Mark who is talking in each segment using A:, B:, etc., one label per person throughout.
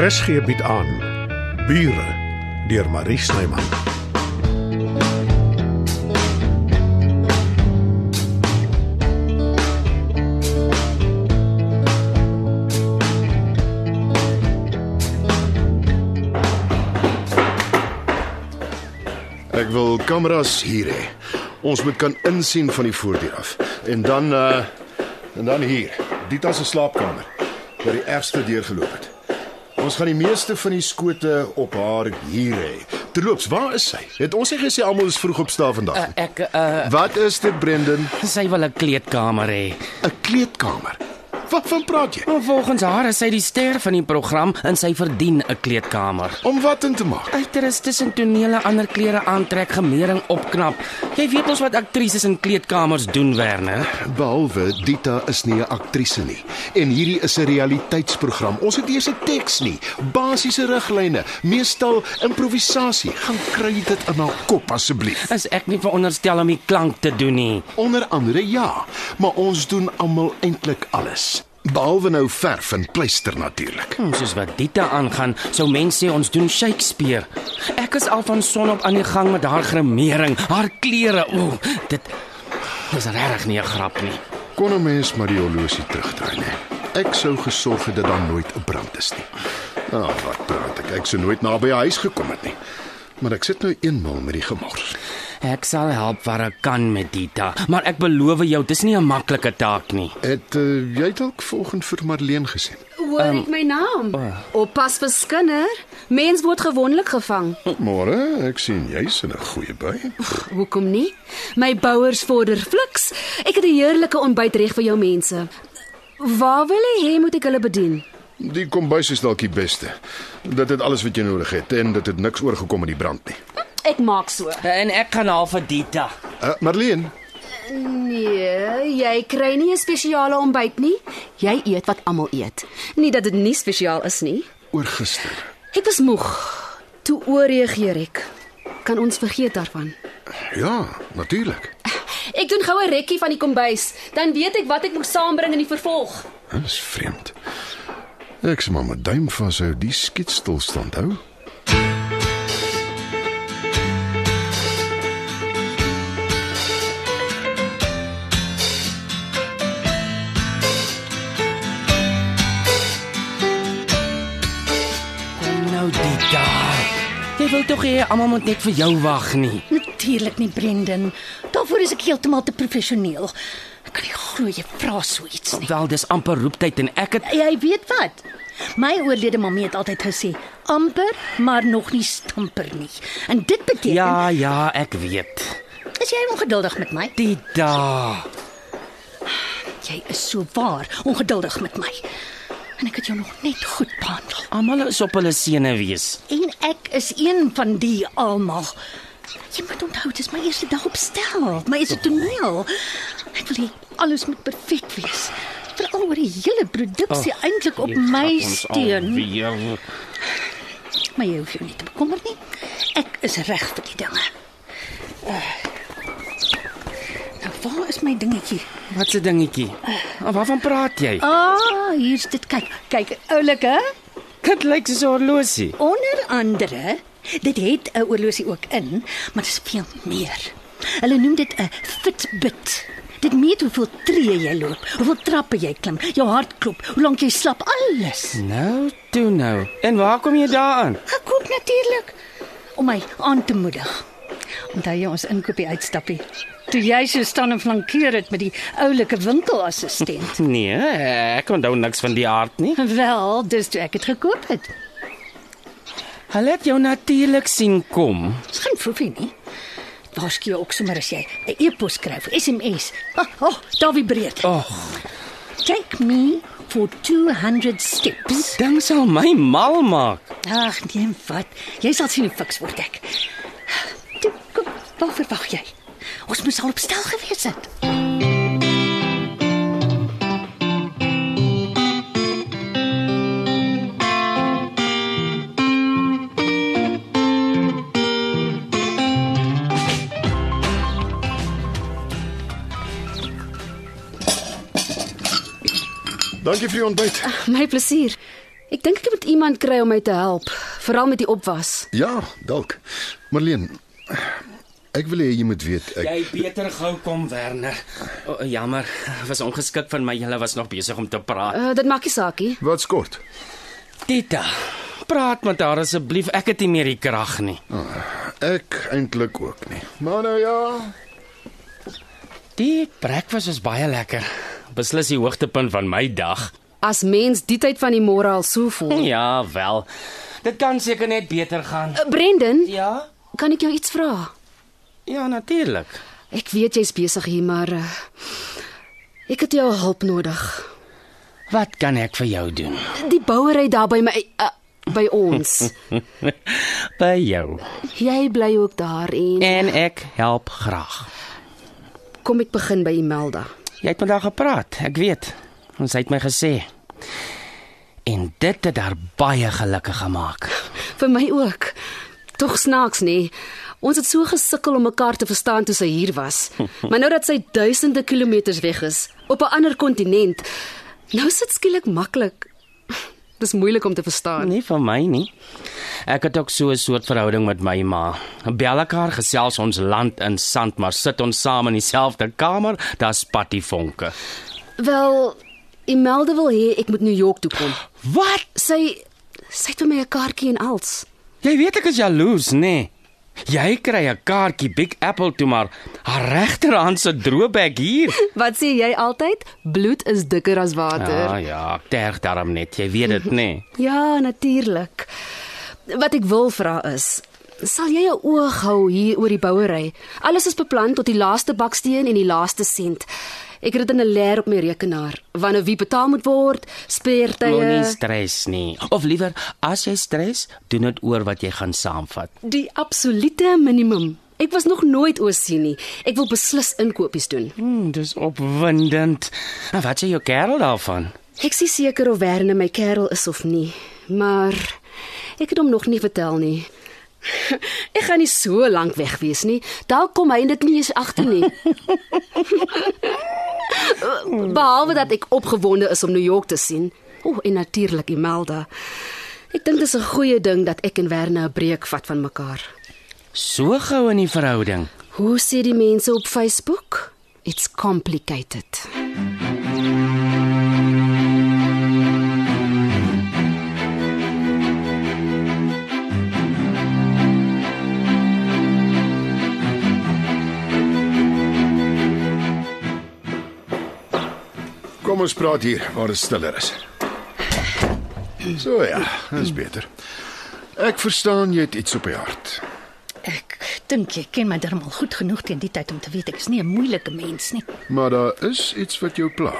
A: RSG bied aan Bure deur Marie Snyman.
B: Ek wil kameras hier hê. Ons moet kan insien van die voordeur af. En dan uh en dan hier, Dita se slaapkamer waar die ergste deur geloop het. Ons gaan die meeste van die skote op haar hier hê. Terloops, waar is sy? Het ons nie gesê almal is vroeg opstaan vandag nie?
C: Ek uh
B: Wat is dit, Brendan?
C: sy wil 'n kleedkamer hê.
B: 'n Kleedkamer. Wat van praat jy?
C: Maar Volgens haar is sy die ster van die program en sy verdien 'n kleedkamer.
B: Om wat in te maak?
C: Uiter is tussen tonele ander klere aantrek, gemering opknap. Jy weet ons wat aktrises in kleedkamers doen, Werner.
B: Behalwe Dita is nie 'n aktrise nie en hierdie is 'n realiteitsprogram. Ons het eers 'n teks nie, basiese riglyne, meestal improvisasie. Gaan kry jy dit in haar kop asseblief.
C: Is ek nie veronderstel om die klank te doen nie.
B: Onder andere ja, maar ons doen almal eintlik alles. Behalwe nou verf en pleister natuurlik.
C: Hm, soos wat Dita aangaan, sou mense sê ons doen Shakespeare. Ek is al van son op aan die gang met haar grimering, haar klere. Ooh, dit is regtig nie 'n grap nie.
B: Kon 'n mens maar die horlosie terugdraai nie. Ek sou gesorg het dat daar nooit 'n brand is nie. Nou, wat praat ek? Ek sou nooit naby haar huis gekom het nie. Maar ek sit nou eenmal met die gemors.
C: Ek sal help waar ek kan met Dita, maar ek beloof jou, dis nie 'n maklike taak nie.
B: Het uh, jy dalk volgens vir Marleen gesien?
D: Hoor um, ek my naam. Oppas vir skinder. Mens word gewoonlik gevang.
B: Môre, ek sien jy's in 'n goeie by.
D: Hoekom nie? My bouers vorder fliks. Ek het 'n heerlike ontbyt reg vir jou mense. Waar wil jy hê moet ek hulle bedien?
B: Die kombuis is dalk die beste. Dit het alles wat jy nodig het en dit het niks oorgekom in die brand nie.
D: Ek maak so.
C: En ek gaan haar vir Dita.
B: Uh, Marleen,
D: Nee, jy kry nie 'n spesiale ontbyt nie. Jy eet wat almal eet. Nie dat dit nie spesiaal is nie.
B: oor gister.
D: Ek was moeg. Toe ooreageer ek. Kan ons vergeet daarvan.
B: Ja, natuurlik.
D: Ek doen goue rekkie van die kombuis, dan weet ek wat ek moet saambring in die vervolg.
B: Dit is vreemd. Ek sê maar my duim vashou, die skiet stilstand hou.
C: Kom nou Dita. Jy wil tog hê almal moet net vir jou wag nie.
E: Natuurlik nie, Brendan. Daarvoor is ek heeltemal te professioneel. Ek kan nie glo jy vra so iets nie.
C: Wel, dis amper roeptyd en ek het
E: Jy weet wat? My oorlede mamma het altyd gesê, amper, maar nog nie stamper nie. En dit beteken,
C: Ja, ja, ek weet.
E: is jy ongeduldig met my?
C: Dita.
E: Jy is so waar ongeduldig met my. En ek het jou nog net goed behandel.
C: Almal is op hulle senuwees.
E: En ek is een van die almal. Jy moet onthou, dit is my eerste dag op stel. My is 'n toneel. Ek wil hê alles moet perfek wees. Veral oor die hele produksie oh, eintlik op my steun.
C: Alweer.
E: Maar jy hoef jou nie te bekommer nie. Ek is reg vir die dinge. Uh, nou, waar is my dingetjie?
C: Wat 'n dingetjie. Ah, Waarvan praat jy?
E: Ah, oh, hier's dit. Kyk, kyk, oulik hè?
C: Dit lyk soos 'n horlosie.
E: Onder andere, dit het 'n oorlosie ook in, maar dit is veel meer. Hulle noem dit 'n Fitbit. Dit meet hoeveel tree jy loop, hoeveel trappe jy klim, jou hartklop, hoe lank jy slap, alles.
C: Nou, toe nou. En waar kom jy daaraan?
E: Gekoop natuurlik om my aan te moedig. Onthou jy ons inkopies uitstappie? Toe jy so staan en flankeer het met die oulike winkelassistent.
C: Nee, ek onthou niks van die aard nie.
E: Wel, dis toe ek dit gekoop het.
C: Hulle het jou natuurlik sien kom.
E: Dis geen foefie nie. Waarskynlik ook sommer as jy 'n e-pos skryf, SMS. Ah, oh, Davie Breed.
C: Ag,
E: Take me for 200 steps.
C: ding sal my mal maak.
E: Ag, nee, wat? Jy sal sien hoe fiks word ek. Toe, kom, wat verwag jy? Ons moes al op stel gewees het.
B: Dankie vir die ontbyt.
D: My plesier. Ek dink ek moet iemand kry om my te help, veral met die opwas.
B: Ja, dalk. Marleen, ek wil hê jy moet weet ek
C: Jy beter gou kom Werner. O, jammer, was ongeskik van my. Julle was nog besig om te praat.
D: Uh, dit maak nie saak nie.
B: Wat skort?
C: Tita, praat met haar asseblief. Ek het nie meer die krag nie.
B: Ek eintlik ook nie. Maar nou ja.
C: Die breakfast was baie lekker. Beslis die hoogtepunt van my dag.
D: As mens die tyd van die môre al so voel.
C: Ja, wel. Dit kan seker net beter gaan.
D: Uh, Brendan,
C: Ja?
D: kan ek jou iets vra?
C: Ja, natuurlik.
D: Ek weet jy's besig hier, maar uh, ek het jou hulp nodig.
C: Wat kan ek vir jou doen?
D: Die bouery daar by my uh, by ons.
C: By jou.
D: Jy bly ook daar en
C: En ek help graag.
D: kom ek begin by Imelda.
C: Jy het met haar gepraat, ek weet. Ons het my gesê. En dit het haar baie gelukkig gemaak.
D: Vir my ook. Tog snaaks nê. Ons het so gesukkel om mekaar te verstaan toe sy hier was. Maar nou dat sy duisende kilometers weg is, op 'n ander kontinent, nou sit skielik maklik. Dis moeilik om te verstaan.
C: Nie vir my nie. Ek het ook so 'n soort verhouding met my ma. Bel elkaar gesels ons land in sand, maar sit ons saam in dieselfde kamer, daar's pattievonke.
D: Wel, Imelda wil hê ek moet New York toe kom.
C: Wat?
D: Sy sy het vir my 'n kaartjie en als.
C: Jy weet ek is jaloers, nê? Nee. Jy kry 'n kaartjie Big Apple toe, maar haar regterhand se droebek hier.
D: Wat sê jy altyd? Bloed is dikker as water.
C: Ja, ja, ek terg daarom net. Jy weet dit, nê? Nee.
D: Ja, natuurlik. Wat ek wil vra is, sal jy jou oog hou hier oor die bouery? Alles is beplan tot die laaste baksteen en die laaste sent. Ek het dit in 'n leer op my rekenaar. Wanneer wie betaal moet word,
C: Moenie
D: speertye,
C: stres nie. Of liewer, as jy stres, doen dit oor wat jy gaan saamvat.
D: die absolute minimum. Ek was nog nooit oor sien nie. Ek wil beslis inkopies doen.
C: Hmm, dis opwindend. En Nou, wat sê jou kerel daarvan?
D: Ek is nie seker of Werner my kerel is of nie, maar ek het hom nog nie vertel nie. Ek gaan nie so lank weg wees nie. Dalk kom hy en dit nie eens agter nie. Behalwe dat ek opgewonde is om New York te sien. O, oh, en natuurlik Imelda. Ek dink dis 'n goeie ding dat ek en Werner 'n breek vat van mekaar.
C: So gou in die verhouding.
D: Hoe sê die mense op Facebook? It's complicated.
B: Kom ons praat hier waar dit stiller is. So ja, dis beter. Ek verstaan jy het iets op jou hart.
E: Ek dink jy ken my darmal goed genoeg teen die tyd om te weet ek is nie 'n moeilike mens nie.
B: Maar daar is iets wat jou pla.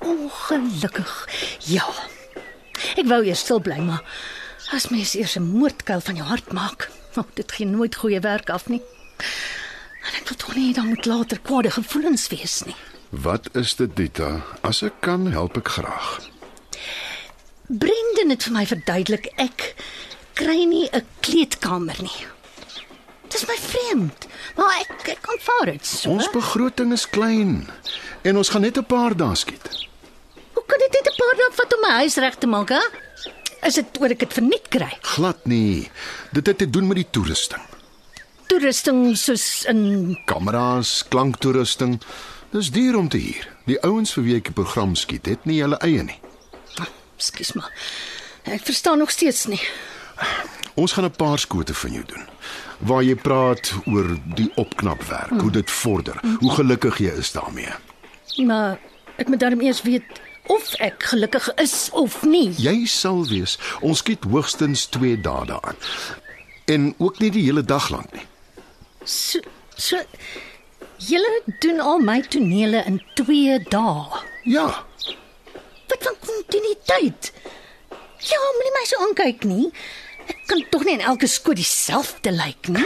E: Ongelukkig. Ja. Ek wou eers stil bly, maar as mens eers 'n moordkuil van jou hart maak, nou dit gee nooit goeie werk af nie. En ek wil tog nie dan moet later kwade gevoelens wees nie.
B: Wat is dit, Dita? As ek kan, help ek graag.
E: Brendan het vir my verduidelik ek kry nie 'n kleedkamer nie. Dis my vreemd, maar ek ek aanvaar dit. So.
B: Ons begroting is klein en ons gaan net 'n paar dae skiet.
E: Hoe kan dit net 'n paar dae vat om my huis reg te maak, hè? Is dit oor ek dit verniet kry?
B: Glad nie. Dit het te doen met die toerusting.
E: Toerusting soos in
B: Kameras, klanktoerusting. Dis duur om te huur. Die ouens vir wie ek die program skiet, het nie hulle eie nie.
E: Skus maar. Ek verstaan nog steeds nie.
B: Ons gaan 'n paar skote van jou doen waar jy praat oor die opknapwerk, hoe dit vorder, hoe gelukkig jy is daarmee.
E: Maar ek moet darm eers weet of ek gelukkig is of nie.
B: Jy sal wees. Ons skiet hoogstens 2 dae daaraan. En ook nie die hele dag lank nie.
E: So so julle doen al my tonele in 2 dae.
B: Ja,
E: Wat van kontinuïteit? Ja, moenie my so aankyk nie. Ek kan tog nie in elke skoot dieselfde lyk nie.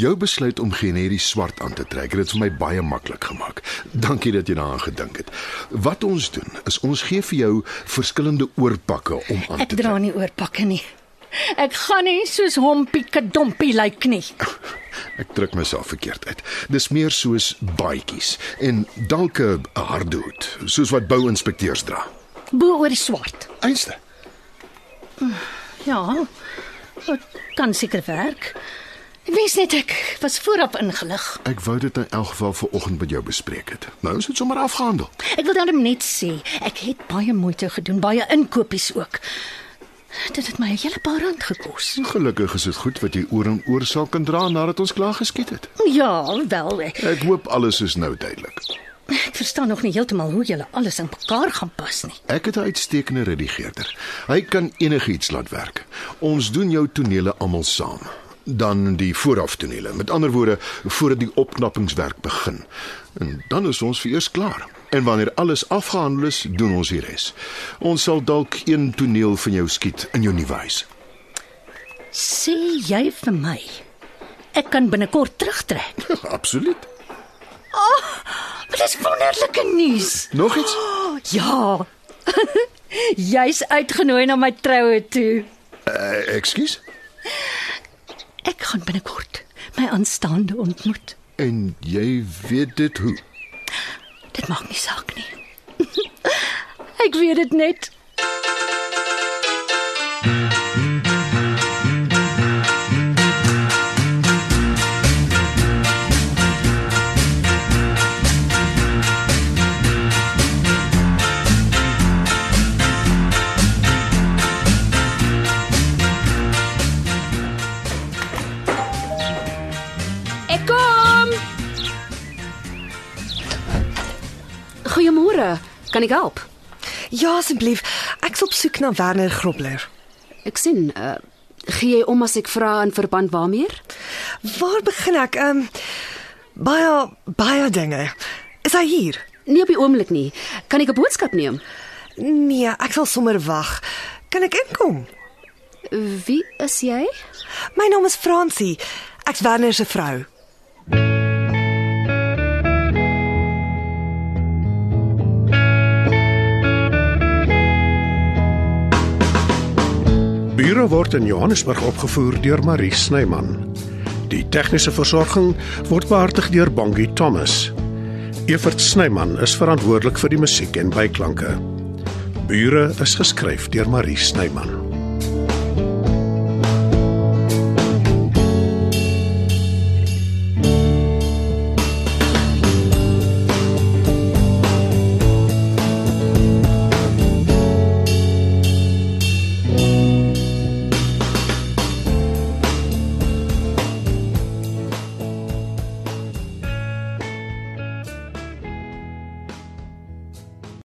B: Jou besluit om generies swart aan te trek het dit vir my baie maklik gemaak. Dankie dat jy daaraan gedink het. Wat ons doen is ons gee vir jou verskillende oorpakke om aan
E: Ek
B: te
E: dra
B: trek.
E: nie oorpakke nie. Ek gaan nie soos hompie kadompie lyk nie.
B: Ek druk myself verkeerd uit. Dis meer soos baadjies en dalk 'n harde hoed, soos wat bouinspekteurs dra.
E: Bo oor swart.
B: Einste.
E: Ja. Dit kan seker werk. Ek wens net ek was vooraf ingelig.
B: Ek wou dit in elk geval vanoggend met jou bespreek het. Nou is dit sommer afgehandel.
E: Ek wil dan net sê, ek het baie moeite gedoen, baie inkopies ook. Dit het my 'n hele paar rand gekos.
B: Gelukkig is dit goed wat jy oor en oor sal kan dra nadat ons klaar geskiet het.
E: Ja, wel. Ek,
B: Ek hoop alles is nou duidelik.
E: ek verstaan nog nie heeltemal hoe julle alles in mekaar gaan pas nie.
B: Ek het 'n uitstekende redigeerder. Hy kan enigiets laat werk. Ons doen jou tonele almal saam. Dan die vooraf tonele. Met ander woorde, voordat die opknappingswerk begin. En dan is ons vereers klaar. En wanneer alles afgehandel is, doen ons die res. Ons sal dalk een toneel van jou skiet in jou nuwe huis.
E: Sê jy vir my, ek kan binnekort terugtrek?
B: Absoluut.
E: Dit is wonderlike nuus.
B: Nog iets?
E: Ja. Jy's uitgenooi na my troue toe.
B: Uh, Ekskuus.
E: Ek gaan binnekort my aanstaande ontmoet.
B: En jy weet dit hoe?
E: Dit maak nie saak nie. ek weet dit net.
D: Ek kom. Goeiemôre. Kan ek help?
F: Ja asseblief, ek's op soek na Werner Grobler.
D: Ek sien, uh, gee jy om as ek vra in verband waarmee?
F: Waar begin ek? Ehm um, baie baie dinge. Is hy hier?
D: Nee op die oomblik nie. Kan ek 'n boodskap neem?
F: Nee, ek sal sommer wag. Kan ek inkom?
D: Wie is jy?
F: My naam is Francie. Ek's Werner se vrou.
A: Bure word in Johannesburg opgevoer deur Marie Snyman. Die tegniese versorging word behartig deur Bongie Thomas. Evert Snyman is verantwoordelik vir die musiek en byklanke. Bure is geskryf deur Marie Snyman.